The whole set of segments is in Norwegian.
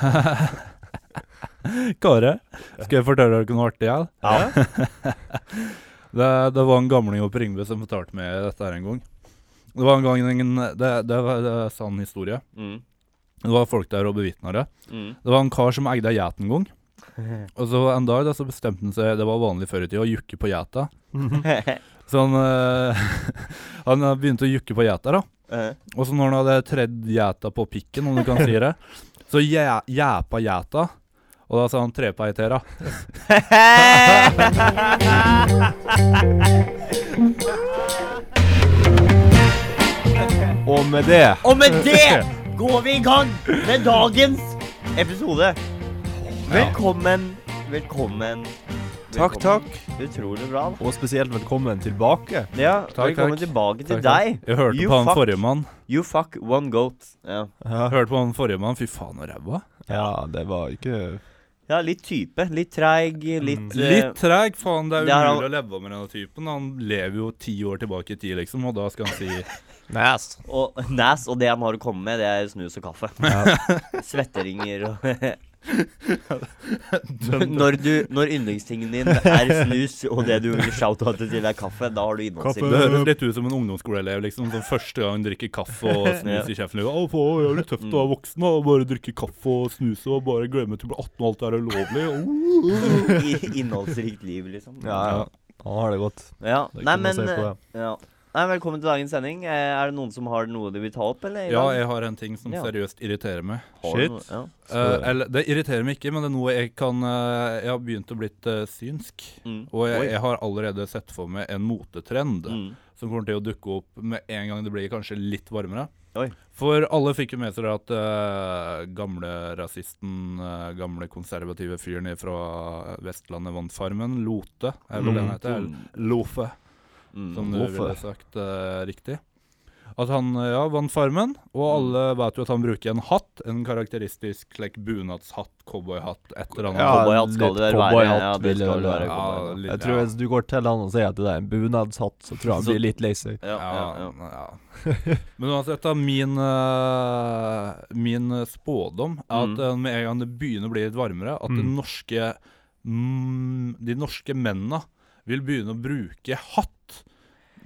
Kåre, skal jeg fortelle dere noe artig? Ja? Ja. Det, det var en gamling oppe i Ringebu som fortalte meg dette her en gang. Det var en gang en, det, det var det er en sann historie. Mm. Det var folk der og bevitna det. Mm. Det var en kar som eide ei geit en gang. Og så en dag da, så bestemte han seg Det var vanlig før i tida å jukke på geita. Så han, eh, han eh, begynte å jukke på geita, da. Eh, Og så når han hadde tredd geita på pikken, om du kan si det, så gje- gjepa geita. Og da sa han trepa ei til, da. Og med det Og med det går vi i gang med dagens episode. Velkommen, velkommen. Takk, velkommen. takk. Utrolig bra. da. Og spesielt velkommen tilbake. Ja, Takk, velkommen takk. tilbake til Takk, takk. deg. Jeg hørte You på han fuck. forrige mann. You fuck one goat. Ja, Jeg hørte på han forrige mann. Fy faen, og ræva. Ja, det var ikke ja litt type. Litt treig, litt eh, Litt treg, faen. Det er det er umulig å leve med denne typen. Han lever jo ti år tilbake i tid, liksom, og da skal han si Nice. Og Nas og det han har å komme med, det er snus og kaffe. Svetteringer og når, du, når yndlingstingen din er snus, og det du vil shout-oute til er kaffe, da har du Det innholdssvikt. høres litt ut som en ungdomsskoleelev liksom, som første gang drikker kaffe og snus i kjeften. Liksom, Å, faen, jeg er litt tøft å Mm. være voksen og bare drikke kaffe og snus og bare glemme til å bli 18 og alt det er ulovlig. Oh. I- Innholdsrikt liv, liksom. Ja, ja. Han har det godt. Ja. Det er ikke Nei, noe å men eh, si på ja. Nei, Velkommen til dagens sending. Eh, Er det noen som har noe de vil ta opp, eller? Ja, jeg har en ting som Ja. seriøst irriterer meg. Har du noe? shit. Ja. Eh, eller, det irriterer meg ikke, men det er noe jeg kan eh, Jeg har begynt å blitt eh, synsk. Mm. Og jeg, Oi. jeg har allerede sett for meg en motetrend Mm. som kommer til å dukke opp med en gang det blir kanskje litt varmere. Oi. For alle fikk jo med seg det at eh, gamle rasisten, eh, gamle konservative fyren fra Vestlandet vant Farmen, Lote, er Sånn- vel det han heter? Lofe, Mm. som du Lofe. ville sagt eh, riktig. At han eh, ja, vant Farmen, og Mm. alle vet jo at han bruker en hatt. En karakteristisk like, bunadshatt, cowboyhatt, et eller annet. Ja, cowboyhatt skal litt det vel være. cowboyhatt Ja, det vil skal vel det være. være. cowboy, litt- Jeg tror hvis du går til han og sier at det er en bunadshatt, så tror jeg han Så- blir litt lei seg. Ja, ja, ja. Ja, ja. Men uansett, da, min, eh, min eh, spådom er at Mm. eh, med en gang det begynner å bli litt varmere, at de, norske, mm, de norske mennene vil begynne å bruke hatt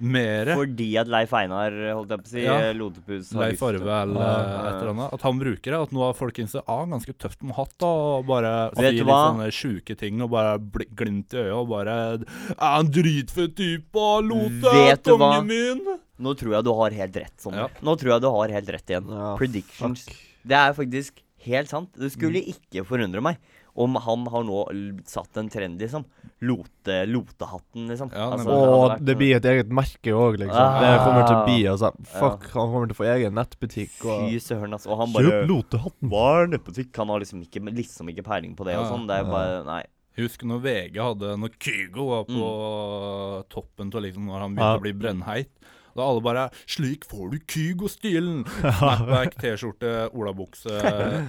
mere. Fordi at Leif Einar, holdt jeg på å si, eh, Ja. Lotepus har Leif lyst til- Arve eller Ja. et eller annet. At han bruker det. At nå har folk innsett ah, ganske tøft med hatt. da, Og bare Vet sier du litt hva? sånne sjuke ting og bare bli, glimt i øyet og bare Er han dritfett type? ah, Lote, Vet du hva? kongen min! Nå tror jeg du har helt rett, Sondre. Ja. Nå tror jeg du har helt rett igjen. Ja, Predictions. fuck. Mm. Det er faktisk helt sant. Det skulle ikke forundre meg om han har nå l- satt en trend, liksom. Lote, lotehatten, liksom. Ja, nemlig. det hadde Og vært- sånn, det blir et eget merke òg, liksom. Ah. Det kommer til å bli altså, Fuck, han kommer til å få egen nettbutikk og Fy søren, altså. Og han bare lotehatten. Var nettbutikk. Han har liksom ikke, liksom ikke peiling på det og Ja, sånn. Det er bare Nei. Jeg husker når VG hadde Når Kygo var på toppen til liksom når han begynte Ja. å bli brennheit. Da alle bare 'Slik får du Kygo-stilen'. Snapback, T-skjorte, olabukse,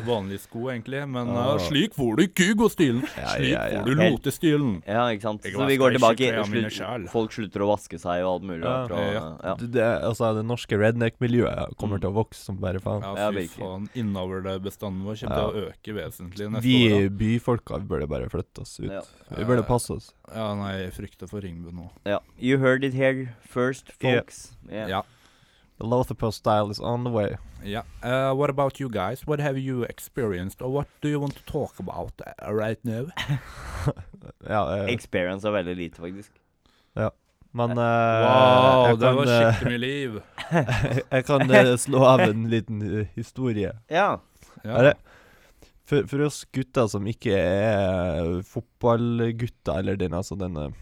vanlige sko, egentlig. Men Ja. eh, 'slik får du Kygo-stilen'. Ja, Slik ja, ja. får du Helt- Lote-stilen. Ja, ikke sant. Jeg Så vi går vasker ikke tilbake. klærne mine Slutt, selv. folk slutter å vaske seg og alt mulig. Ja. rart, og- Ja. ja. Det, altså, det norske redneck-miljøet Mm. kommer til å vokse som bare faen. Ja, Ja, fy virkelig. faen. Innavlebestanden vår kommer til å øke vesentlig neste Vi år. byfolka vi burde bare flytte oss ut. Ja. Vi burde passe oss. da. Ja, nei, jeg frykter for Ringbu nå. ja. You heard it here first, Ja. folks. Yeah. Ja. The Lothapus style is on the way. Yeah. Uh, what about you guys? What have you experienced, or what do you want to talk about uh, right now? Ja, eh, Experience er veldig lite, faktisk. men eh, Wow, jeg det kan, var eh, skikkelig mye liv. jeg kan eh, slå av en liten eh, historie. Ja. Ja. Er det? For, for oss gutter som ikke er fotballgutter, eller den altså denne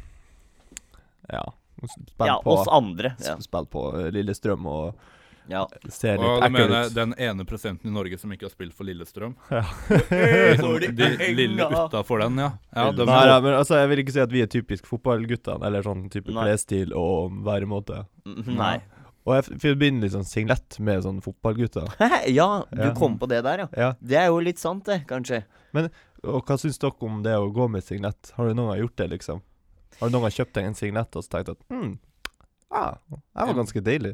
Ja, spill ja på, oss andre. Ja. spill på eh, Lillestrøm og ja. ser Og litt du ekkel mener ut. den ene prosenten i Norge som ikke har spilt for Lillestrøm? Hvor de Liksom, de lille henger. utafor den, ja. ja de, Nei, nei, men altså, jeg vil ikke si at vi er typisk fotballguttene, eller sånn type Nei. klesstil og væremåte. Mm, Nei. Og jeg f- forbinder liksom singlet med sånn fotballgutter. ja, du Ja. kom på det der, ja. Ja. Det er jo litt sant, det, kanskje. Og hva syns dere om det å gå med singlet? Har du noen gang gjort det, liksom? Har du noen gang kjøpt deg en singlet og så tenkt at hm, ah, det var ganske deilig?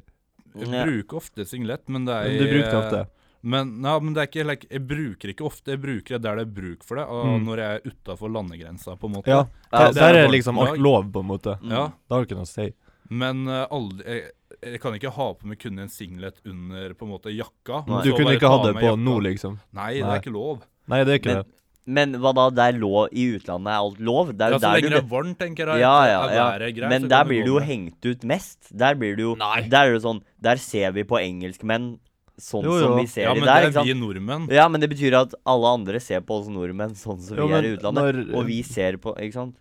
Jeg bruker ofte singlet, men det er Men du bruker ofte. Men, ja, men det er ikke, like, jeg bruker ikke ofte. Jeg bruker det der det er bruk for det, og Mm. når jeg er utafor landegrensa, på en måte. Ja, Ja, der, det der er er liksom folk- alt lov, på en måte. Mm. Ja, Det har ikke noe å si. Men eh, aldri, jeg, jeg kan ikke ha på meg kun en singlet under på en måte jakka. Nei. og Du så kunne bare ikke ta ha det av meg på jakka. nå, liksom. Nei, det Nei. er ikke lov. Nei, det er ikke Men, det. men hva da, der lå i utlandet er alt lov? Det er Ja, jo så der lenge du det er varmt, tenker jeg. ja, at ja, er været ja. greit, Men så der kan blir gå du jo med. hengt ut mest. Der blir du jo Nei. Der er det jo sånn Der ser vi på engelskmenn sånn Jo, som jo. vi ser Ja, de men der. det ikke er vi sant? nordmenn. Ja, men det betyr at alle andre ser på oss nordmenn sånn som Jo, vi er i men utlandet. når- Og vi ser på Ikke sant?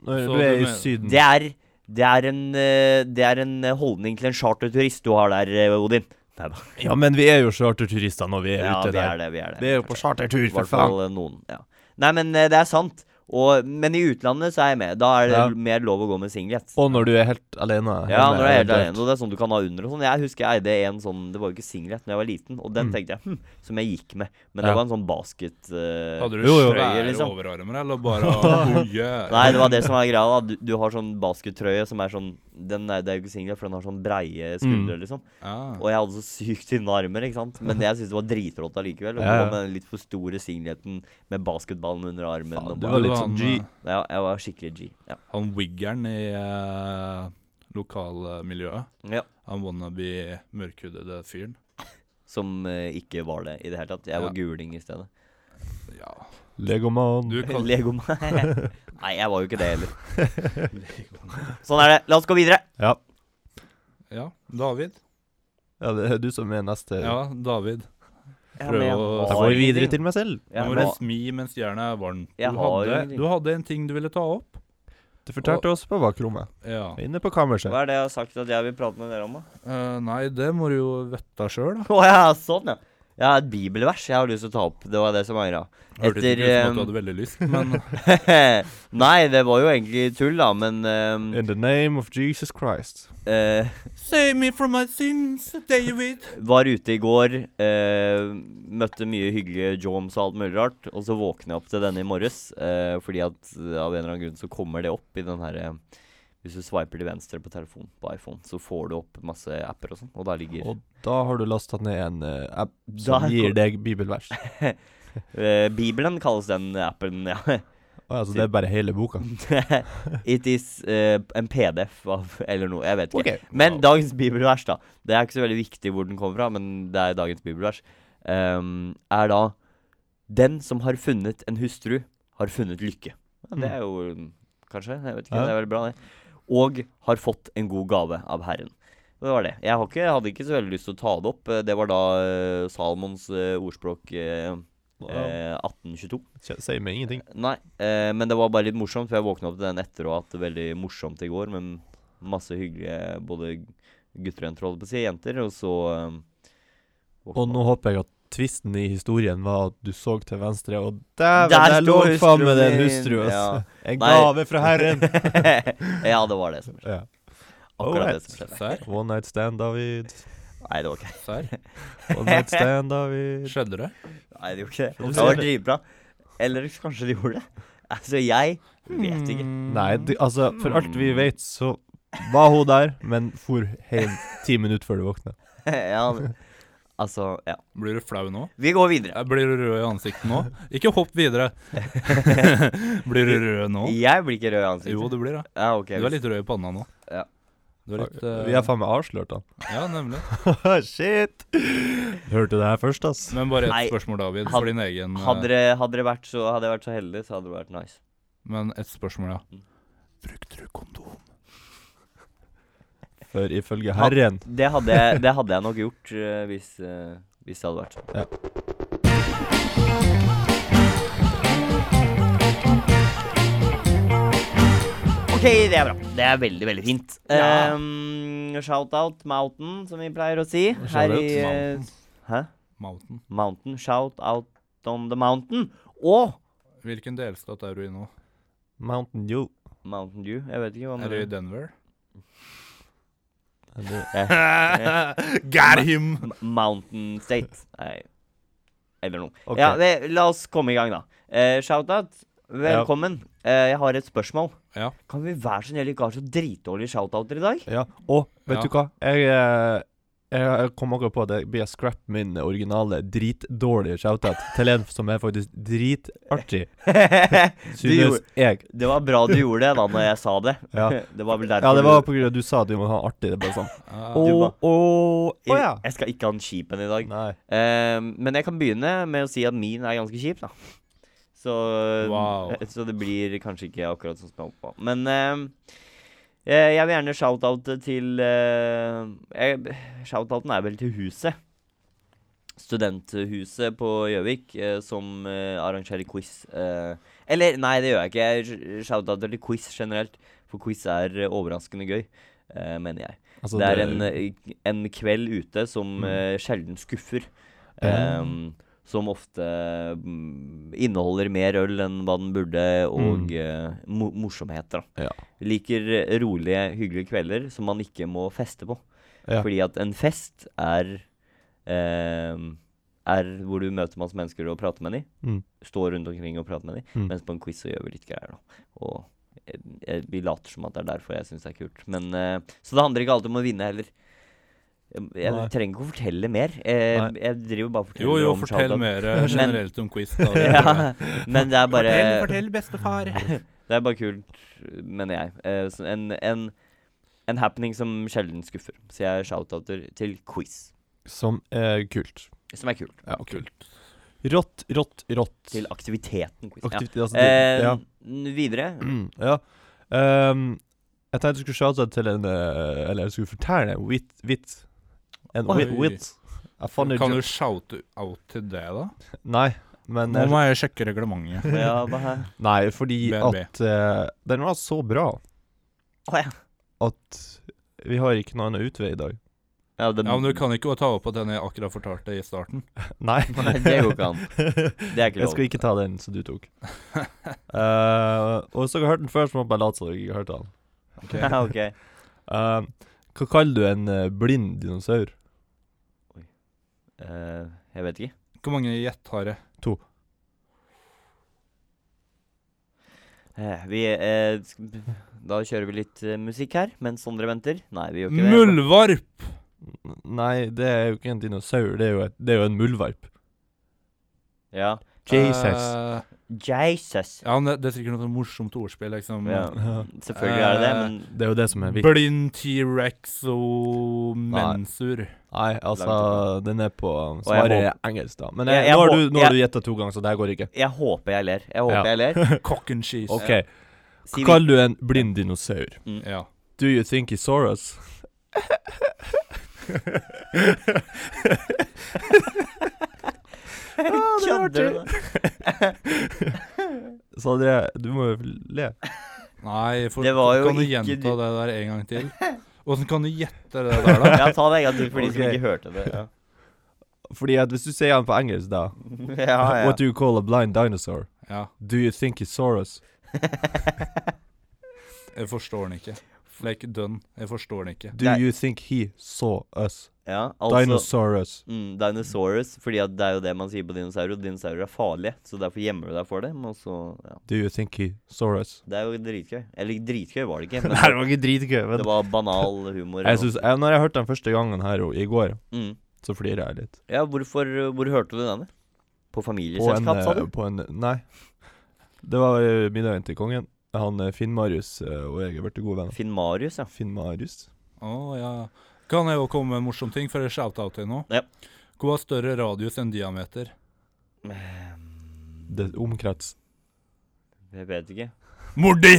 Når Så du er du i mener- Syden Det er, det er, en, eh, det er en eh, holdning til en charterturist du har der, eh, Odin. Nei da. Ja, men vi er jo charterturister når vi er Ja, ute vi er der. det. Vi er det. Vi er jo på chartertur, I for hvert faen. fall eh, noen. Ja. Nei, men eh, det er sant. Og, men i utlandet så er jeg med. Da er det Ja. mer lov å gå med singlet. Og når du er helt alene. Ja, hjemme, når du er helt eventuelt. alene, og det er sånn du kan ha under og sånn. Jeg husker jeg eide en sånn, det var jo ikke singlet når jeg var liten, og den Mm. tenkte jeg, hm, som jeg gikk med. Men Ja. det var en sånn basket... eh, Hadde du Jo, jo. svære Liksom. overarmer, eller bare hoie? Nei, det var det som var greia da. Du, du har sånn baskettrøye som er sånn, den er, det er jo ikke singlet, for den har sånn breie Mm. skuldre, liksom. Ja. Og jeg hadde så sykt tynne armer, ikke sant? Men jeg synes det var dritrått allikevel. Og Ja, ja. med den litt for store singleten med basketballen under armen. Faen, og du bare- var litt han, sånn G. eh, Ja, jeg var skikkelig G. Ja. Han wiggeren i eh, lokalmiljøet. ja. Han wannabe mørkhudede fyren. Som eh, ikke var det i det hele tatt. Jeg var Ja. guling i stedet. Ja. Legoman. Du kan Legoman. Nei, jeg var jo ikke det heller. Sånn er det. La oss gå videre. Ja. Ja, David. ja, det er du som er neste. Ja, David. Ja, Prøv men jeg å- har Da går vi videre ingenting. til meg selv. Ja, Nå må men- du smi mens jernet er varmt. Jeg Du har jo hadde, ingenting. du hadde en ting du ville ta opp. Du fortalte oss på bakrommet. Ja. Inne på kammerset. Hva er det jeg har sagt at jeg vil prate med dere om, da? Eh, nei, det må du jo vette sjøl, da. Å ja, sånn, ja. Jeg har et bibelvers jeg har lyst til å ta opp. Det var det som angra. Hørtes Etter, ikke ut som at eh, du hadde veldig lyst, men Nei, det var jo egentlig tull, da, men ehm, In the name of Jesus Christ. eh, Save me from my sins, David. Var ute i går, eh, møtte mye hyggelige joms og alt mulig rart. Og så våkner jeg opp til denne i morges, eh, fordi at eh, av en eller annen grunn så kommer det opp i den her eh, Hvis du swiper til venstre på telefonen på iPhone, så får du opp masse apper og sånn, og der ligger Og da har du lasta ned en eh, app Der som kom- gir deg bibelvers. eh, Bibelen kalles den appen, ja. Å ja, så det er bare hele boka. It is eh, en PDF av Eller noe, jeg vet ikke. Ok. Men Wow. dagens bibelvers, da. Det er ikke så veldig viktig hvor den kommer fra, men det er dagens bibelvers. ehm, er da Den som har funnet en hustru, har funnet lykke. Ja, det er jo mm, Kanskje? Jeg vet ikke. Ja. Det er veldig bra, det. Og har fått en god gave av Herren. Det var det. Jeg har ikke, hadde ikke så veldig lyst til å ta det opp. Eh, Det var da eh, Salomons eh, ordspråk eh, eh, 1822. Kje- Sier meg ingenting. Nei, eh, men det var bare litt morsomt, for jeg våkna opp til den etter og hatt det veldig morsomt i går, men masse hyggelige både gutter og jenter, holdt jeg på å si, jenter, og så eh, Og nå håper jeg at tvisten i historien var at du så til venstre, og Der dæven, der, lå står faen meg den hustruen hustru, min, ja. altså. En Nei. gave fra Herren. ja, det var det som skjedde. ja. Akkurat det Alright. som skjedde. Serr? One night stand, David. Nei, det var ikke Serr? One night stand, David. Skjedde det? Nei, det gjorde ikke det. Det var dritbra. Eller kanskje de gjorde det. Altså, jeg vet Mm. ikke. Nei, det- altså, for alt vi vet, så var hun der, men for hjem ti minutter før du våkna. ja, men, altså, ja. Blir du flau nå? Vi går videre. Jeg Blir du rød i ansiktet nå? Ikke hopp videre. blir du rød nå? Jeg blir ikke rød i ansiktet. Jo, du blir det. Ja, ok. Du er litt rød i panna nå. Ja. Du er litt eh, Vi er faen meg avslørt, da. Ja, nemlig. Shit! Hørte det her først, ass. Men bare Nei, ett spørsmål, David, had- for din egen eh, Hadde det, hadde, det vært så, hadde jeg vært så heldig, så hadde det vært nice. Men ett spørsmål, Mm. ja. Brukte du kondom? For ifølge Herren Det hadde, jeg- det hadde jeg nok gjort eh, hvis, eh, hvis det hadde vært sånn. Ja. Ok, det er bra. Det er veldig, veldig fint. Ja. Ehm, Shout-out Mountain, som vi pleier å si. Her i eh, Hæ? Mountain. Mountain. Shout-out on the mountain. Og Hvilken delstat er du i nå? Mountain Dew. Mountain Dew. Jeg vet ikke hva Er du i man Denver? Er det- Got him! M- Mountain State. Nei. Eller noe. Ok. Ja, det, la oss komme i gang, da. Eh, Shout-out. Velkommen. Eh, jeg har et spørsmål. Ja. Kan vi være så snill ikke ha så dritdårlige shoutouter i dag? Ja. Og vet Ja. du hva? Jeg, eh, Jeg, jeg kom akkurat på at jeg blir scrap min originale dritdårlige shoutout til en som er faktisk dritartig, synes gjorde- jeg. Det var bra du gjorde det da når jeg sa det. Ja. Det var vel derfor Ja, det var du- på grunn av at du sa at du må ha artig. Det er bare sånn. Ah, Du var- Å ja. Jeg skal ikke ha den kjipen i dag. Nei. Eh, men jeg kan begynne med å si at min er ganske kjip, da. Så, eh, Wow. så det blir kanskje ikke akkurat sånn som jeg håpet på. Men eh, eh, jeg vil gjerne shout-oute til eh, jeg- Shout-outen er vel til Huset. Studenthuset på Gjøvik, eh, som eh, arrangerer quiz. eh, eller, nei, det gjør jeg ikke. Jeg shout-outer til quiz generelt, for quiz er eh, overraskende gøy, eh, mener jeg. Altså, Mm. Det er en, eh, en kveld ute som eh, sjelden skuffer. Ja. ehm, som ofte mm, inneholder mer øl enn hva den burde, og eh, mo morsomheter. Da. Mm. Ja. Liker eh, rolige, hyggelige kvelder som man ikke må feste på. Ja. Fordi at en fest er ehm, er hvor du møter masse mennesker og prater med dem. Mm. Står rundt omkring og prater med dem. Mm. Mens på en quiz så gjør vi litt greier, da. Og eh, eh, vi later som at det er derfor jeg syns det er kult. Men, eh, så det handler ikke alltid om å vinne heller. Jeg, jeg Nei. trenger ikke å fortelle mer. Jeg, Nei. jeg driver bare og forteller Jo, jo, om fortell shoutout. mer eh, Men- generelt om quiz. Da. ja, men det er bare bestefar. Det er bare kult, mener jeg. Eh, så en, en, en happening som sjelden skuffer. Så jeg shoutouter til quiz, Som er kult. som er kult. Ja, Rått, rått, rått. Til aktiviteten quiz. Ja. Aktivt, altså, det, Eh, ja. n- Videre ja. Ehm, jeg tenkte jeg skulle shoute til en eh, Eller jeg skulle fortelle en wit. wit. En Oi. wit, wit. A funny Kan du joke. shoute out til det, da? Nei, men Nå jeg- må jeg sjekke reglementet. Ja, hva her? Nei, fordi BNB. at eh, den var så bra Å ja. at vi har ikke noen annen utvei i dag. Ja, den, Ja, men Du kan ikke ta opp på den jeg akkurat fortalte i starten. Nei. Nei, det går ikke an. Det er ikke Jeg lov. skal ikke ta den som du tok. Eh, og hvis dere har hørt den før, så må dere bare late som dere ikke har hørt den. Ja, ok. Eh, hva kaller du en eh, blind dinosaur? Eh, jeg vet ikke. Hvor mange gjett har jeg? Eh, vi eh, sk- Da kjører vi litt eh, musikk her mens andre venter. Nei, vi gjør ikke det. Muldvarp! N- Nei, det er jo ikke en dinosaur, det er jo, et, det er jo en muldvarp. Ja. Jesus. Eh, Jesus. ja, men det, det er sikkert noe sånn morsomt ordspill, liksom. Ja. Selvfølgelig er det det, men Det er jo det som er viktig. Blind T-rex og mensur. Nei, altså, den er på jeg svaret er engelsk, da. Men Jeg- jeg, jeg nå har må- du, nå har jeg- du gjetta to ganger, så det her går ikke. jeg håper jeg ler. Jeg håper Eh. Ja. jeg ler. Cock and cheese. OK. Si Hva vi- kaller du en blind dinosaur? Ja. Do you think he saw us? Kødder du? nå? Så det Du må jo le. Nei, for Det var jo kan du ikke gjenta du- det der en gang til? Åssen kan du gjette det der, da? Ja, ta det en gang til for de som Ok. ikke hørte det. Ja, Fordi at hvis du sier den på engelsk, da ja. ja. What do you call a blind dinosaur? Ja, Do you think he saw us? jeg forstår den ikke. Like done. Jeg forstår den ikke. Do Nei. you think he saw us? ja altså Dinosaurus. mm, Dinosaurus, fordi at det er jo det man sier på dinosaurer, og dinosaurer er farlige, så derfor gjemmer du deg for dem, og så ja. Do you think he saw us? Det er jo dritgøy. Eller dritgøy var det ikke, men Nei, det var ikke dritgøy, men det var banal humor. jeg synes, jeg, Når jeg hørte den første gangen her og- i går, mm. så flirer jeg litt. Ja, hvorfor Hvor hørte du denne? På På en, familieselskap, sa eh, du? på en Nei. Det var eh, middagen til kongen. Han eh, Finn-Marius eh, og jeg er blitt gode venner. Finn Marius, ja. Finn-Marius? Å ja. Kan jeg jo komme med en morsom ting for å shoute out til nå? Ja. Hvor har større radius enn diameter? Det omkrets. Jeg vet ikke. Mordi!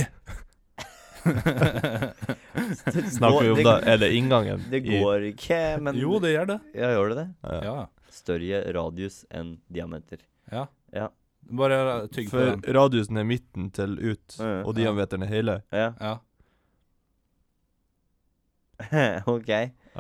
Snakker vi om det, da Er det inngangen? Det i- går ikke, men Jo, det gjør det. Ja, gjør det det? Ja. Ja. Større radius enn diameter. ja. Ja. Bare tygg på For den. radiusen er midten til ut, Ja, ja. og diameteren er hele. Ja, Ja. ok.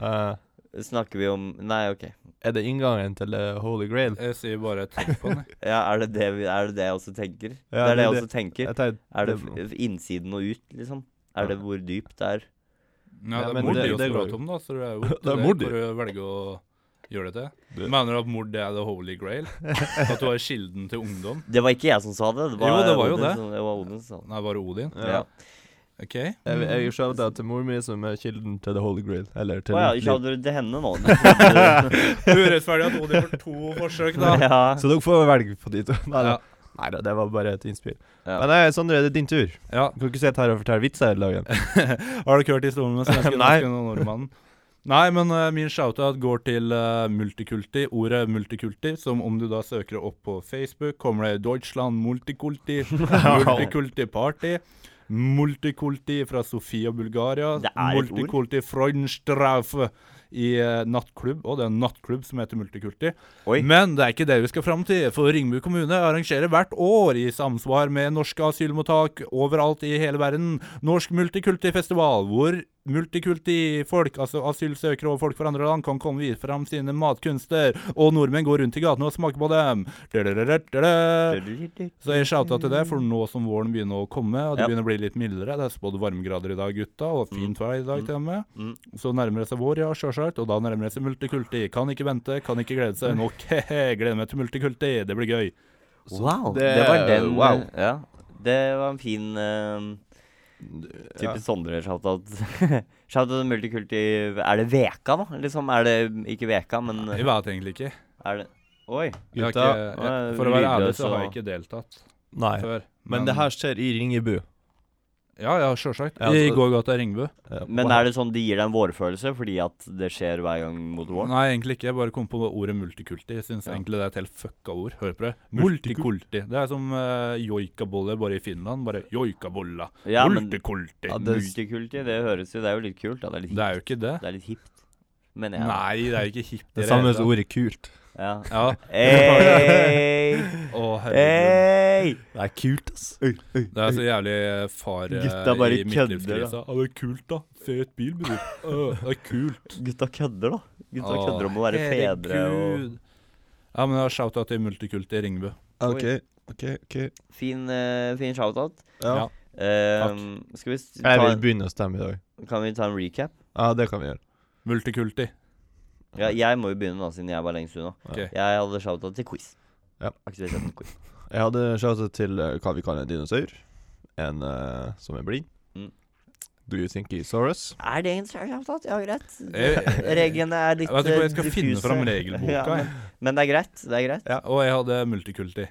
Eh, Snakker vi om Nei, ok. er det inngangen til eh, Holy Grail? Jeg sier bare tygg på den. jeg. Ja, er det det, vi, er det det jeg også tenker? Ja, det er det jeg det- også tenker. Jeg tenkte, Er det det- f- innsiden og ut, liksom? Er det hvor dypt det er? Ja, det Ja, men er mord det- i oss det går prater jo. om, da. Så det er jo Det er det mord i. får du velge å gjøre det til. Det- Mener du at mord er the holy grail? At du har kilden til ungdom? Det var ikke jeg som sa det. det var Jo, det var jo Odin det. Som, det var Odin som sa det. Nei, bare Odin? Ja. Ja. OK? Jeg, jeg gir shout-out til mor mi, som er kilden til The Holy Grail. Eller til Å ja, liv. ikke hadde du til henne nå. Urettferdig at Odin får to forsøk, da. ja. Så dere får velge på de to. Nei da, Ja. Neida, det var bare et innspill. Ja. Men nei, Sondre, det er din tur. ja. Du kan ikke sitte her og fortelle vitser hele dagen. Har dere hørt historien om den svenske Nei. dansken og nordmannen? Nei, men eh, min shoutout går til eh, multikulti. Ordet multikulti, som om du da søker det opp på Facebook, kommer det Deutschland multikulti, multikulti party, multikulti fra Sofia, Bulgaria, Det er et ord. multikulti Freudenstraufe i eh, nattklubb, og det er en nattklubb som heter multikulti. Oi. Men det er ikke det vi skal fram til, for Ringbu kommune arrangerer hvert år, i samsvar med norske asylmottak overalt i hele verden, Norsk multikultifestival, hvor multikulti-folk, altså asylsøkere og folk fra andre land, kan komme videre fram sine matkunster, og nordmenn går rundt i gatene og smaker på dem. Dadadadadada. Så jeg shouta til det, for nå som våren begynner å komme, og det Ja. begynner å bli litt mildere, det er både varmegrader i dag, gutta, og fint vær i dag til og med, Mm. så nærmer det seg vår, ja, sjølsagt, og da nærmer det seg multikulti. Kan ikke vente, kan ikke glede seg nok. Hehe, gleder meg til multikulti, det blir gøy. Wow. Det, det- var den wow. Ja. Det var en fin eh, Ja. Type Sondre shoutout. shoutout multikulti Er det veka, da? Liksom, er det ikke veka, men Jeg vet egentlig ikke. er det Oi. Jeg har ikke Gutta, jeg, for å være ærlig, så har jeg ikke deltatt Nei. før. Men det her skjer i Ringebu. Ja, ja, sjølsagt. Ja, I altså- går gata Ringbu. Men er det sånn de gir deg en vårfølelse fordi at det skjer hver gang mot våren? Nei, egentlig ikke. Jeg bare kom på ordet multikulti. Jeg syns egentlig det er et helt fucka ord. Hør på det. Multikul- Multikulti. Det er som uh, joikaboller, bare i Finland. Bare joikabolla. Ja, men multikulti. Ja, det- multikulti, det høres jo Det er jo litt kult. Da. Det er litt Det er jo ikke det. Det er litt hipt, mener jeg. Nei, det er jo ikke hipt. i Det samme hele som tatt. ordet kult. Ja. Ja. Hey! Å, Eh. herregud. Hey! Det er kult, ass. Det er så jævlig far eh, Gutta bare i kødder, da. midtlivskrisa. Ja, altså. det er kult, da. Fet bil, bror. Å, det er kult. Gutta kødder, da. Gutta Å, kødder om å være fedre og herregud. Ja, men jeg har shouta til Multikult i Ringebu. OK, OK. ok Fin, eh, fin shout-out. ja. Ja. Ehm, skal vi s- ta, Jeg vil begynne å stemme i dag. Kan vi ta en recap? Ja, det kan vi gjøre. Multikulti. Ja, jeg må jo begynne, da, siden jeg var lengst unna. Ok. Jeg hadde shout-out til quiz. Ja. Aktiviteten quiz. Jeg hadde shoutet til eh, hva vi kaller en dinosaur. En eh, som er blind. Mm. Do you think he's Saurus? Er det en shout-out? Ja, greit. Jeg- Reglene er litt Eh, Jeg vet ikke hvor jeg skal eh, finne diffuse. fram regelboka. Ja, men, jeg. men det er greit. Det er greit. Og jeg hadde multikulti.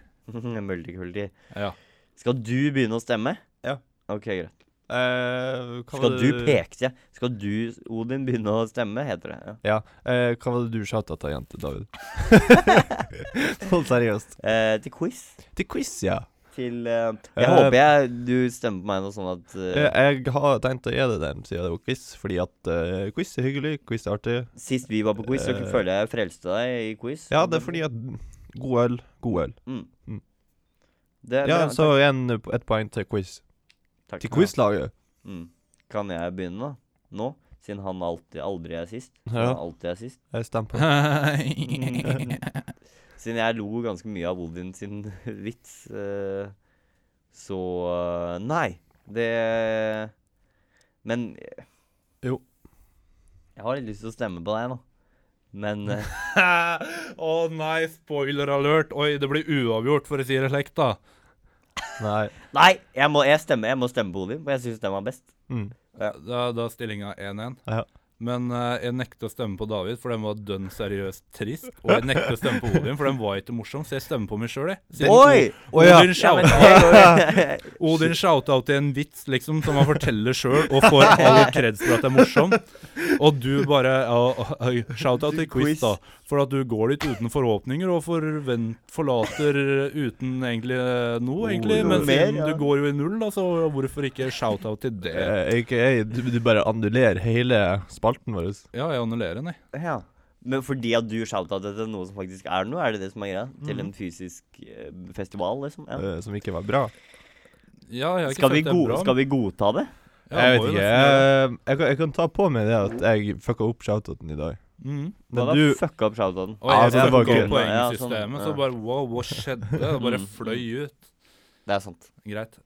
Multikulti. Ja. Skal du begynne å stemme? Ja. Ok, greit. Eh, hva var Skal du det- peke til Skal du, Odin, begynne å stemme, heter det. Ja. Ja. eh, hva var det du shouta til, jente David? Sånn seriøst. Eh, til quiz. Til quiz, ja. Til eh, Jeg Eh, håper jeg du stemmer på meg noe sånn at eh, Jeg, jeg har tenkt å gi deg den siden det var quiz, fordi at eh, quiz er hyggelig, quiz er artig. Sist vi var på quiz, så eh, føler jeg jeg frelste deg i quiz. Ja, det er fordi at god øl, god øl. mm. Mm. Det er Ja, bra. så en, et poeng til quiz. Takk. Til quizlaget. Mm. Kan jeg begynne, da? Nå? Siden han alltid aldri er sist. Ja. Han alltid er sist. Jeg stemmer på Siden jeg lo ganske mye av Odin sin vits, eh, så eh, Nei, det Men eh, Jo. Jeg har litt lyst til å stemme på deg, da. Men eh, Å nei, spoiler alert. Oi, det blir uavgjort, for å si det slik, da. Nei. Nei, jeg må, jeg, stemmer, jeg må stemme på Odin, for jeg syns den var best. Mm. Da, da er stillinga 1-1. Ja. Men eh, jeg nekter å stemme på David, for den var dønn seriøst trist. Og jeg nekter å stemme på Odin, for den var ikke morsom, så jeg stemmer på meg sjøl, jeg. Siden Oi! O- ja. Odin Ja, men, shouta- jeg, Odin shout-out til en vits liksom, som han forteller sjøl, og får all kreds for at det er morsom. Og du bare ja, oi, Shout-out til quiz, da. For at du går dit uten forhåpninger, og forvent, forlater uten egentlig eh, noe, egentlig. Noe Men mer, siden ja. du går jo i null, da, så hvorfor ikke shout-out til det? Eh, AKA, du, du bare annullerer hele spalten vår. Ja, jeg annullerer den, jeg. ja. Men fordi at du shoutoutet til noe som faktisk er noe, er det det som er greia? Til Mm. en fysisk eh, festival, liksom? Ja. eh, som ikke var bra. Ja, jeg har ikke Skal, vi sagt det er go bra. skal vi godta det? men- Ja, må jeg vet jo ikke. nesten gjøre det. Jeg, Eh, jeg, kan, jeg kan ta på meg det at jeg fucka opp shoutouten i dag. Mhm. Hva Men da? du Fucka opp shoutouten. Og Ja, jeg altså, det ja, var på gøy. Ja, poengsystemet, sånn, ja. så bare wow, hva skjedde? Det bare Mm. fløy ut. Det er sant. Greit.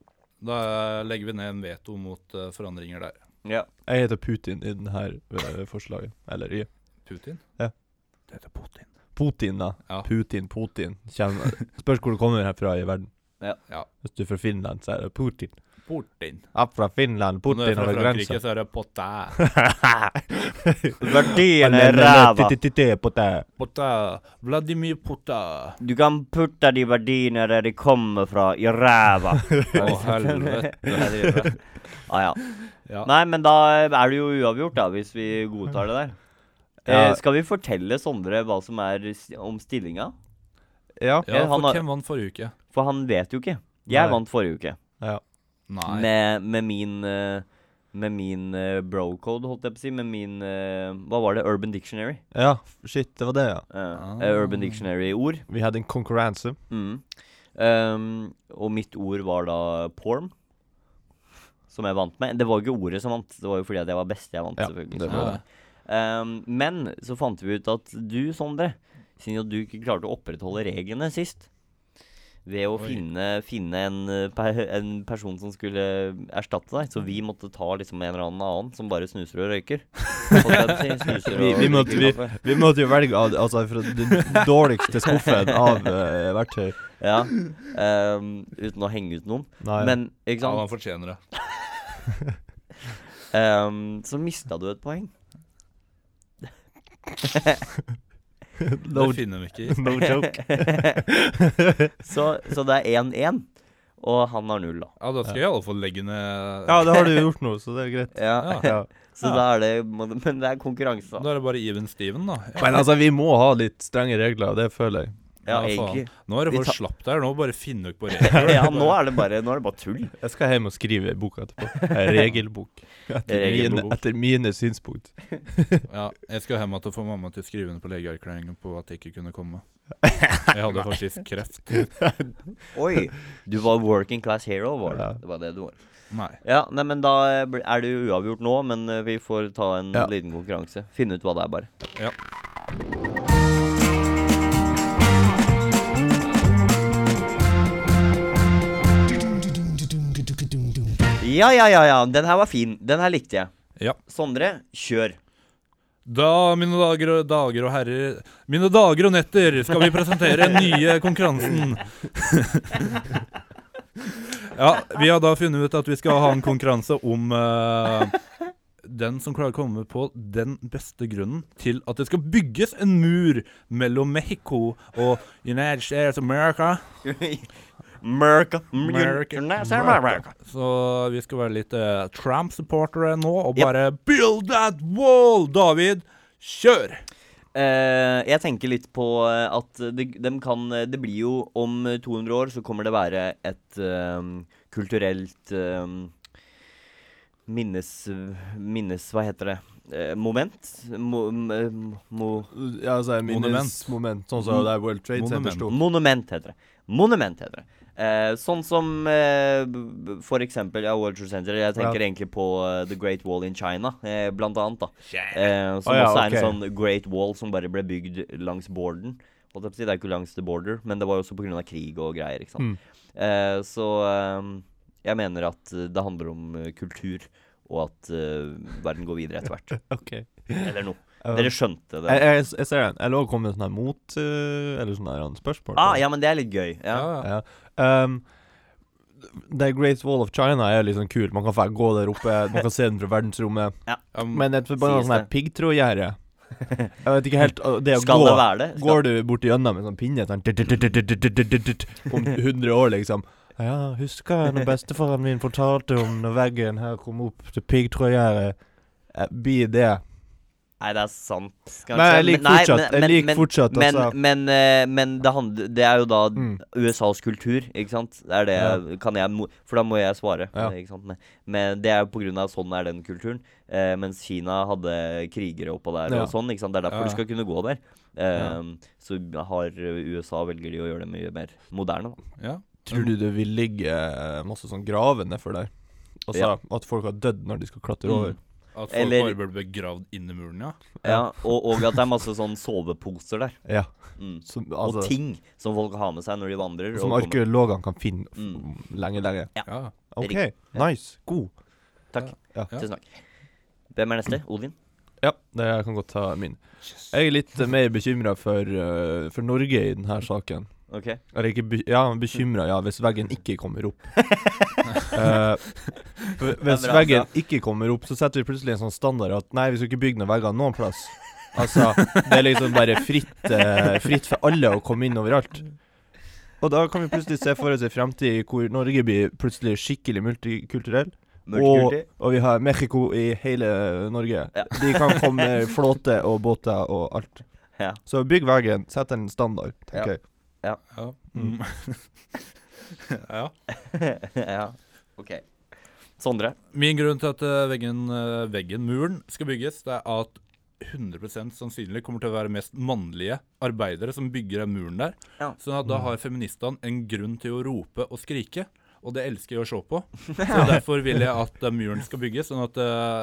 Da eh, legger vi ned en veto mot eh, forandringer der. Ja. Jeg heter Putin i denne forslaget. Eller i Putin? Ja. Det heter Putin. Putin, da. Ja. Putin, Putin. Kjem, spørs hvor du kommer herfra i verden. Ja. Ja. Hvis du er fra Finland, så er det Putin. Putin. Jeg er fra Finland, Og Når jeg Putin er over fra Frankrike, grensa. så er det potin. Verdiene eh, er ræva. Potin. Vladimir Potin. Du kan putte de verdiene der de kommer fra, i ræva. Å, helvete. ah, ja. Ja. Nei, men da er det jo uavgjort, da, hvis vi godtar det der. Ja. Eh, skal vi fortelle Sondre hva som er s- om stillinga? Ja. Ja, for Han har- hvem vant forrige uke? For han vet jo ikke. Jeg Nei. vant forrige uke ja. Nei. med, med min eh, med min eh, bro-code, holdt jeg på å si. Med min eh, Hva var det? Urban Dictionary. Ja, shit, det var det, ja. Eh, Ah. eh, Urban Dictionary-ord. Vi hadde en konkurranse. Mm. Ehm, og mitt ord var da porn. Som jeg vant med. Det var jo ikke ordet som vant, det var jo fordi at jeg var best. jeg vant Ja, selvfølgelig. det så- var det. Ehm, men så fant vi ut at du, Sondre, siden at du ikke klarte å opprettholde reglene sist ved å Oi. finne, finne en, eh, per, en person som skulle erstatte deg. Så vi måtte ta liksom en eller annen annen som bare snuser og røyker. Holdt jeg på å si, snuser Vi- og vi måtte- drikker vi- kaffe. Vi måtte jo velge av- altså, fra den dårligste skuffen av eh, verktøy. Ja. ehm, uten å henge ut noen. Nei. Men ikke Ja, sant? han fortjener det. Ehm, så mista du et poeng. Det no, finner vi ikke i. no joke. så, så det er 1-1, og han har null, da. Ja, da skal jeg i alle fall legge ned Ja, det har du gjort nå, så det er greit. Ja, Ja. Så da er det må det- Men det er konkurranse, da. Da er det bare Even Steven, da. Ja, Men altså, vi må ha litt strenge regler, og det føler jeg. Ja, Ja, faen. egentlig. Nå er det vi for tar- slapt her. Nå bare finner dere på regler. Ja, nå er det bare, nå er det bare tull. Jeg skal hjem og skrive en bok etterpå. En regelbok. Etter Regelbok. mine, etter mine synspunkt. Ja, jeg skal hjem igjen og få mamma til å skrive under på legeerklæringen på at jeg ikke kunne komme. Jeg hadde faktisk kreft. Oi! Du var working class hero, var Ja. det. Det var det du var. Nei. Ja, nei, men da eh, bl- er det jo uavgjort nå, men eh, vi får ta en Ja. liten konkurranse. Finne ut hva det er, bare. Ja. Ja, ja, ja, ja. Den her var fin. Den her likte jeg. Ja. Sondre, kjør. Da, mine dager og, dager og herrer Mine dager og netter skal vi presentere den nye konkurransen. ja, vi har da funnet ut at vi skal ha en konkurranse om eh, den som klarer å komme på den beste grunnen til at det skal bygges en mur mellom Mexico og United States of America. Merka. Merka. Merka. Så vi skal være litt eh, Trump-supportere nå og bare Build that wall, David! Kjør! Eh, jeg tenker litt på eh, at det, dem kan, eh, det blir jo om eh, 200 år så kommer det være et eh, kulturelt eh, minnes, minnes... Hva heter det? Eh, moment? Mo, m- eh, mo, Ja, altså, jeg minnes Monument. moment, sånn som det er World Trade Center Monument. sto. monument heter det. Monument heter det. Eh, sånn som eh, b- b- for eksempel ja, World Trade Center. Jeg tenker egentlig på eh, The Great Wall in China, eh, blant annet. da. Eh, som Å ja, også er ok. en sånn Great Wall som bare ble bygd langs borden. Holdt jeg på å si, Det er ikke langs the border, men det var jo også pga. krig og greier. ikke sant? Mm. Eh, så eh, jeg mener at eh, det handler om eh, kultur, og at eh, verden går videre etter hvert. Ok. Eller noe. Ja. Dere skjønte det? Jeg, jeg, jeg ser den. Jeg lå og kom med sånn her mot eh, Eller sånn her annen spørsmål. Ah, ja, men det er litt gøy. Ja. Ja. Um, The Great Wall of China er liksom kul. Man kan fa- gå der oppe, man kan se den fra verdensrommet. Um, Men et forbanna Sies sånn her det. piggtrådgjerde Jeg vet ikke helt uh, Det å Skal gå det være det? Skal... Går du borti gjennom med sånn pinne sånn tut-tut-tut-tut-tut-tut-tut, Om 100 år, liksom. Ja, husker jeg når bestefaren min fortalte om når veggen her kom opp til piggtrådgjerdet. Eh, Blir det Nei, det er sant. kanskje. Men jeg liker nei, fortsatt, jeg liker fortsatt men, altså. men, eh, men det, handler, det er jo da Mm. USAs kultur, ikke sant? Det er det kan jeg mo- For da må jeg svare. Ja. Ikke sant? Men, men det er jo på grunn av sånn er den kulturen. Eh, mens Kina hadde krigere oppå der Ja. og sånn. ikke sant? Det er derfor Ja. du skal kunne gå der. Eh, Så har USA velger de å gjøre det mye mer moderne. Da. ja. Tror du det vil ligge eh, masse sånn graver nedfor der? Altså Ja. at folk har dødd når de skal klatre over? At folk Eller- bare burde begravd inn i muren, ja. Ja. og, og at det er masse sånn soveposer der. Ja. Mm. Som, Og altså, ting som folk har med seg når de vandrer. som og kommer. arkeologene kan finne f- Mm. lenge, lenge. ja. OK, Riktig. nice. God. Takk. Ja. Ja. Tusen takk. Hvem er neste? Odin? Ja, det jeg kan godt ta min. Jeg er litt eh, mer bekymra for, eh, for Norge i denne saken. Ok. Eller ikke be Ja, bekymra, ja, hvis veggen ikke kommer opp. Eh, for hvis Det er bra, veggen ikke kommer opp, så setter vi plutselig en sånn standard at nei, vi skal ikke bygge noen vegger noen plass. Altså, det er liksom bare fritt, eh, fritt for alle å komme inn overalt. Og da kan vi plutselig se for oss en fremtid hvor Norge blir plutselig skikkelig multikulturell. Og, Multikulti. og vi har Mexico i hele eh, Norge. Ja. De kan komme med flåte og båter og alt. Ja. Så bygg veggen, sett en standard, Ja. tenker jeg. Ja. Mm. ja. ja. Ok. Sondre. Min grunn til at eh, veggen, eh, veggen, muren, skal bygges, det er at 100 sannsynlig kommer til å være mest mannlige arbeidere som bygger den muren der. Ja. Sånn at da har feministene en grunn til å rope og skrike, og det elsker jeg å se på. Så derfor vil jeg at den muren skal bygges, sånn at eh,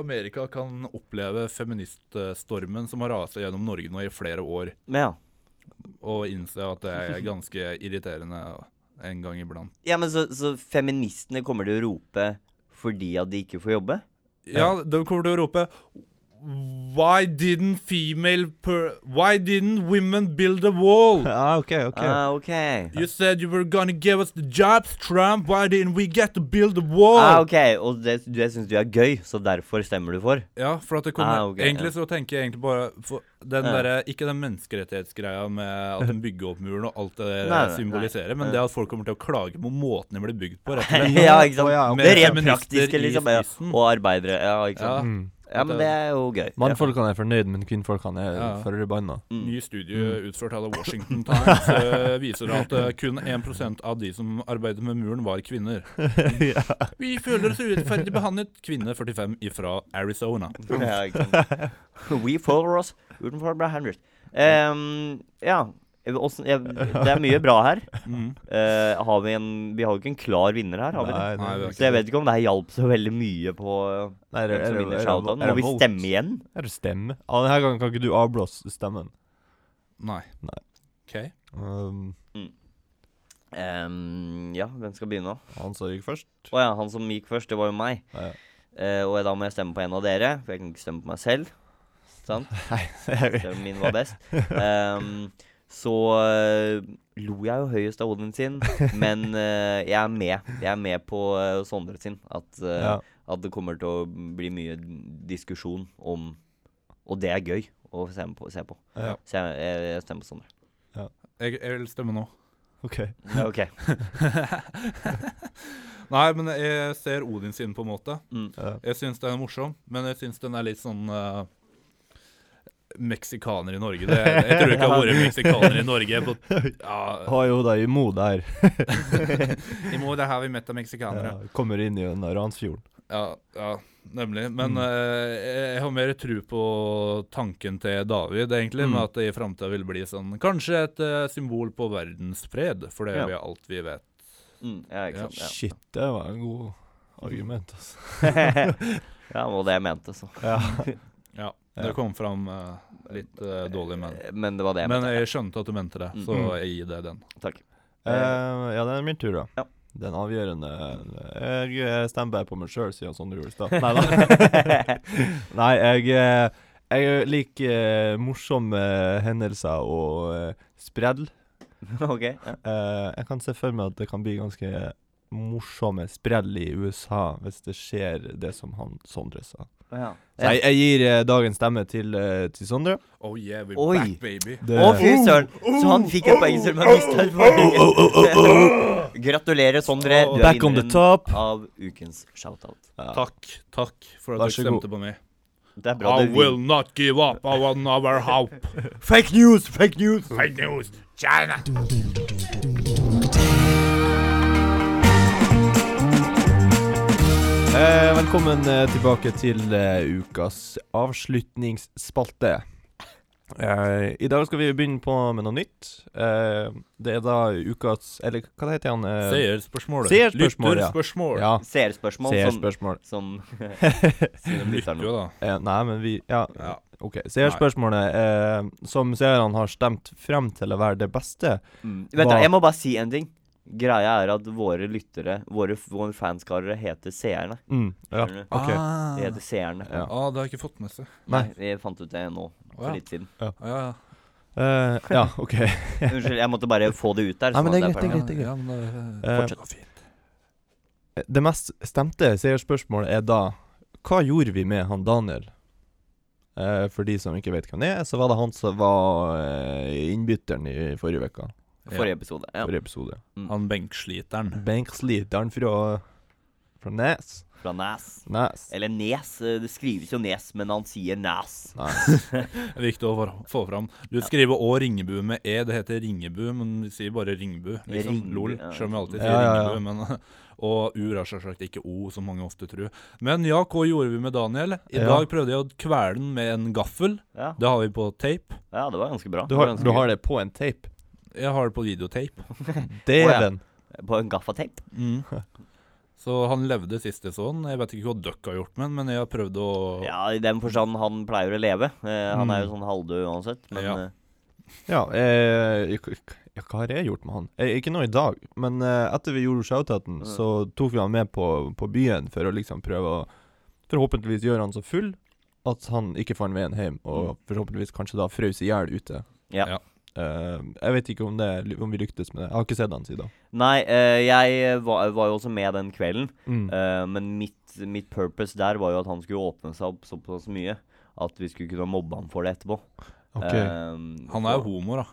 Amerika kan oppleve feministstormen som har raset gjennom Norge nå i flere år, Men ja. og innse at det er ganske irriterende en gang iblant. ja men så, så feministene kommer til å rope fordi at de ikke får jobbe? Ja, de kommer til å rope Why didn't female per Why didn't women build a wall? Ja, OK, OK. Ah, OK. You said you were gonna give us the jobs, Trump. Why didn't we get to build a wall? Ah, ok, Og det, det syns du er gøy, så derfor stemmer du for? Ja, for at det kommer Ah, ok, Egentlig så tenker jeg egentlig bare for den Ja. derre- Ikke den menneskerettighetsgreia med at de bygger opp muren og alt det der Nei, nei, symboliserer, men nei. det at folk kommer til å klage på måten den blir bygd på, rett og slett. ja, ikke sant? Å, ja, ok. Det er rent Feminister i praktiske, liksom. Ja. spissen. Og arbeidere. Ja, ikke sant. Ja, Mm. Ja, men det er jo gøy. Mannfolkene er fornøyd, men kvinnfolkene er Ja. forbanna. Ny Mm. studie utført av The Washington Times eh, viser at eh, kun 1 av de som arbeidet med muren, var kvinner. ja. Vi føler oss urettferdig behandlet. Kvinne 45 ifra Arizona. Ja, ikke sant. We follow us utenfor Bra Henry. Ehm, ja. Jeg- åssen- jeg- Det er mye bra her. Mm. Eh, har vi en Vi har jo ikke en klar vinner her, har vi det? Nei, vi har Så jeg vet ikke om det her hjalp så veldig mye på Nei, hvem som vinner shoutouten. Må vi stemme igjen? Er det stemme? Ja, Denne gangen kan ikke du avblåse stemmen. Nei. Nei. OK. Um, Ehm, ja, hvem skal begynne? da? han som gikk først. Å ja, han som gikk først, det var jo meg. Ja. Eh, og da må jeg stemme på en av dere, for jeg kan ikke stemme på meg selv. Sant? Selv om min var best. Ehm, så eh, lo jeg jo høyest av Odin sin, men eh, jeg er med. Jeg er med på eh, Sondre sin. At, eh, Ja. at det kommer til å bli mye diskusjon om Og det er gøy å se på. Se på. Ja. Så jeg, jeg, jeg stemmer på Sondre. Jeg, jeg vil stemme nå. OK. Ja, OK. Nei, men jeg ser Odin sin på en måte. Mm. Ja. Jeg syns den er morsom, men jeg syns den er litt sånn eh, Meksikaner i Norge. Det, jeg tror ikke jeg har vært meksikaner i Norge på ja, Har jo da i Mo der. Imot det her vi møtte meksikanere. Ja, kommer inn i den der Ransfjorden. Ja, ja nemlig. Men eh, jeg- jeg har mer tro på tanken til David, egentlig, med at det i framtida vil bli sånn Kanskje et eh, symbol på verdensfred, for det Ja. er jo alt vi vet. Mm, ja, Ja. ikke sant. Ja. Shit, det var en god argument, altså. ja, det var det jeg mente, så. Ja, Ja. Det kom fram eh, litt eh, dårlig, men Men det var det jeg Men mente. jeg skjønte at du mente det, så Mm. jeg gir deg den. Takk. Eh, ja, det er min tur, da. Ja. Den avgjørende Jeg eh, stemmer bare på meg sjøl, sier Sondre Jolstad. Nei da. Nei, jeg, eh, jeg liker eh, morsomme hendelser og eh, sprell. OK. Ja. Eh, jeg kan se for meg at det kan bli ganske morsomme sprell i USA hvis det skjer det som han Sondre sa. Ja. Så jeg, jeg gir eh, dagens stemme til, eh, til Sondre. Oh yeah, we're Oi. back, baby. Det, Å, fy søren! Så han fikk et poeng selv om han mista et poeng. Gratulerer, Sondre. Du er Back on the vinneren top. av ukens shoutout. Ja. Takk, takk for at Vær du så stemte på meg. Det er bra I du will vil. not give up. I will never hope. Fake news! Fake news! Fake news, China. Eh, velkommen eh, tilbake til eh, ukas avslutningsspalte. Eh, I dag skal vi begynne på med noe nytt. Eh, det er da ukas Eller hva heter han? Eh, Seerspørsmålet. Seerspørsmål, ja. Lytterspørsmål. Ja, Seerspørsmål som, seerspørsmål. som Vi lytter jo, da. Eh, nei, men vi Ja, Ja. OK. Seerspørsmålet eh, som seerne har stemt frem til å være det beste. mm. Vent, da, Hva- jeg må bare si en ting. Greia er at våre lyttere, våre, våre fanskarere, heter seerne. Mm, ja, Skjønner du? OK. Ah. De heter seerne. Ja. Ah, det har jeg ikke fått med seg. Nei. Vi fant ut det nå, for Å, ja. litt siden. Ja, ja. Eh, ja, OK. Unnskyld, jeg måtte bare få det ut der. Nei, sånn men det er at greit, det er perfekt. greit. det er Ja, men, Eh, det går fint. Det mest stemte seerspørsmålet er da Hva gjorde vi med han Daniel? Eh, for de som ikke vet hvem det er, så var det han som var eh, innbytteren i forrige uke. Forrige episode. Ja. Forrige episode. Han benksliteren. Mm. Benksliteren fra, fra Nes. Fra Nes. Nes. Eller Nes. eh, Det skrives jo Nes, men han sier Nes. Nes. Viktig å få- få fram. Du skriver òg Ringebu med E, det heter Ringebu, men vi sier bare Ringebu. Liksom Ringebu, lol, ja. selv om vi alltid sier Ja, ja, ja. Ringebu. Men, og U er selvsagt ikke O, som mange ofte tror. Men ja, hva gjorde vi med Daniel? I Ja. dag prøvde jeg å kvele den med en gaffel. Ja, Det har vi på tape. ja det var ganske bra. Du, Det var har, ganske du gøy. har det på en tape. Jeg har det på videotape. Dæven. På en gaffateip. Mm. Så han levde siste sånn. Jeg vet ikke hva dere har gjort med den, men jeg har prøvd å Ja, i den forstand han pleier å leve. Eh, han er jo Mm. sånn halvdød uansett, men Ja. eh, Ja, eh, k- k- ja, hva har jeg gjort med han? Eh, ikke nå i dag, men eh, etter vi gjorde shoutouten, Mm. så tok vi han med på, på byen for å liksom prøve å Forhåpentligvis gjøre han så full at han ikke fant veien hjem, og forhåpentligvis kanskje da frøs i hjel ute. Mm. Ja. Ja. Eh, jeg vet ikke om, det, om vi lyktes med det. Jeg har ikke sett han siden. Nei, eh, jeg var, var jo også med den kvelden. Mm. Eh, men mitt, mitt purpose der var jo at han skulle åpne seg opp såpass mye at vi skulle kunne mobbe ham for det etterpå. Ok. Eh, Han er så- jo homo, da.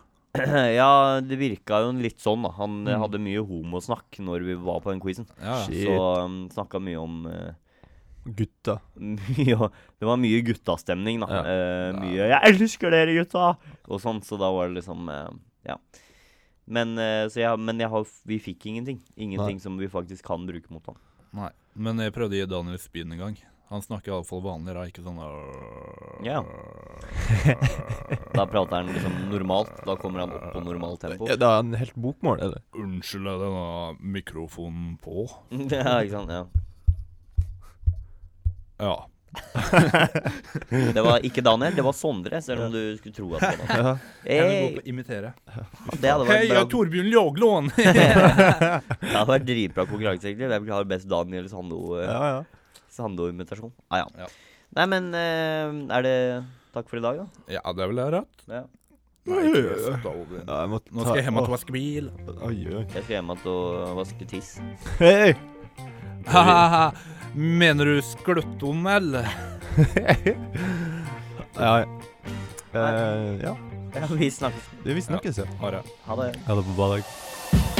ja, det virka jo litt sånn, da. Han eh, Mm. Ah, hadde mye homosnakk når vi var på den quizen. Ja, ja. Shit. Så um, snakka mye om eh, Gutta. mye, å- Det var mye guttastemning, da. Ja. Eh, mye 'Jeg elsker dere, gutta!' og sånn, så da var det liksom eh, Ja. Men, eh, så jeg, men jeg har, vi fikk ingenting. Ingenting som vi faktisk kan bruke mot ham. Nei, men jeg prøvde å gi Daniel spyd en gang. Han snakker iallfall vanlig, da. Ikke sånn øh, Ja. Da prater han liksom normalt. Da kommer han opp på normalt tempo. Ja, det er en helt bokmål, er det? Unnskyld, er denne mikrofonen på? ja, ikke sant? Ja. Ja. Det var ikke Daniel, det var Sondre, selv om du skulle tro at det var Ja. Hey, å imitere. det hadde Hei, vært jeg bra. er Torbjørn Ljåglån! Det hadde vært dritbra konkurranse, egentlig. Hvem har best Daniel Sando? eh, ja, ja. Sando-invitasjon. Ah, ja. Ja. Nei, men eh, er det takk for i dag, da? ja, det er vel det rett? Ja. Nei, ikke så dårlig. ja jeg måtte Nå skal jeg hjem og Åh, vaske bil. Oi, oi. Jeg skal hjem igjen og vaske tiss. Hei! Ha-ha-ha. Mener du skløttom, eller? Ja, ja. Eh, ja. Ja, vi snakkes. Vi snakkes, ja. Har jeg. Ha det. Ha det på badet.